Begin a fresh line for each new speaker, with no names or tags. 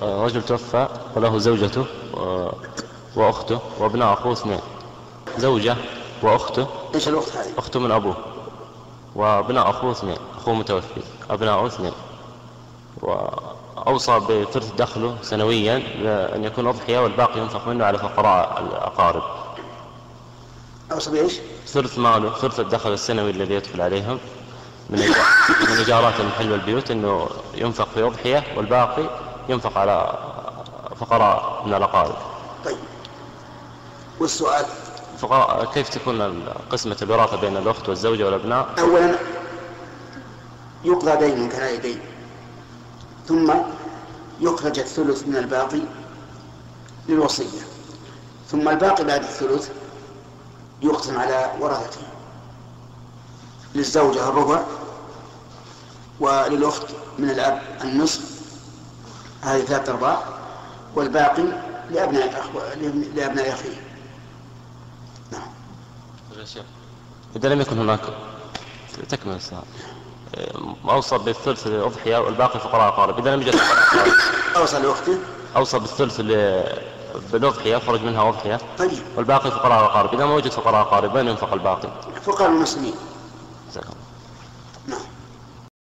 رجل توفى وله زوجته و- وأخته وأبناء أخوه اثنين زوجة وأخته
ايش الوقت هذه؟
أخته من أبوه وأبناء أخوه اثنين أخوه متوفي أبناؤه اثنين وأوصى بثلث دخله سنويا بأن يكون أضحية والباقي ينفق منه على فقراء الأقارب
اوصى بايش؟
ثلث ماله ثلث الدخل السنوي الذي يدخل عليهم من من إيجارات المحل والبيوت أنه ينفق في أضحية والباقي ينفق على فقراء من الأقارب
طيب والسؤال
فقراء كيف تكون قسمة الوراثة بين الأخت والزوجة والأبناء
اولا يقضى دين من كلاء دين ثم يخرج الثلث من الباقي للوصية ثم الباقي بعد الثلث يقسم على ورثته للزوجة الربع وللأخت من الأب النصف هذه ثلاثة أرباع والباقي لأبناء أخو... لأبناء أخيه نعم
إذا لم يكن هناك تكمل السؤال أوصى بالثلث للأضحية والباقي فقراء أقارب إذا لم يوجد فقراء أقارب
أوصى لأخته
أوصى بالثلث ل- بالأضحية خرج منها أضحية
طيب
والباقي فقراء أقارب إذا ما وجد فقراء أقارب وين ينفق الباقي؟
فقراء المسلمين
جزاك الله.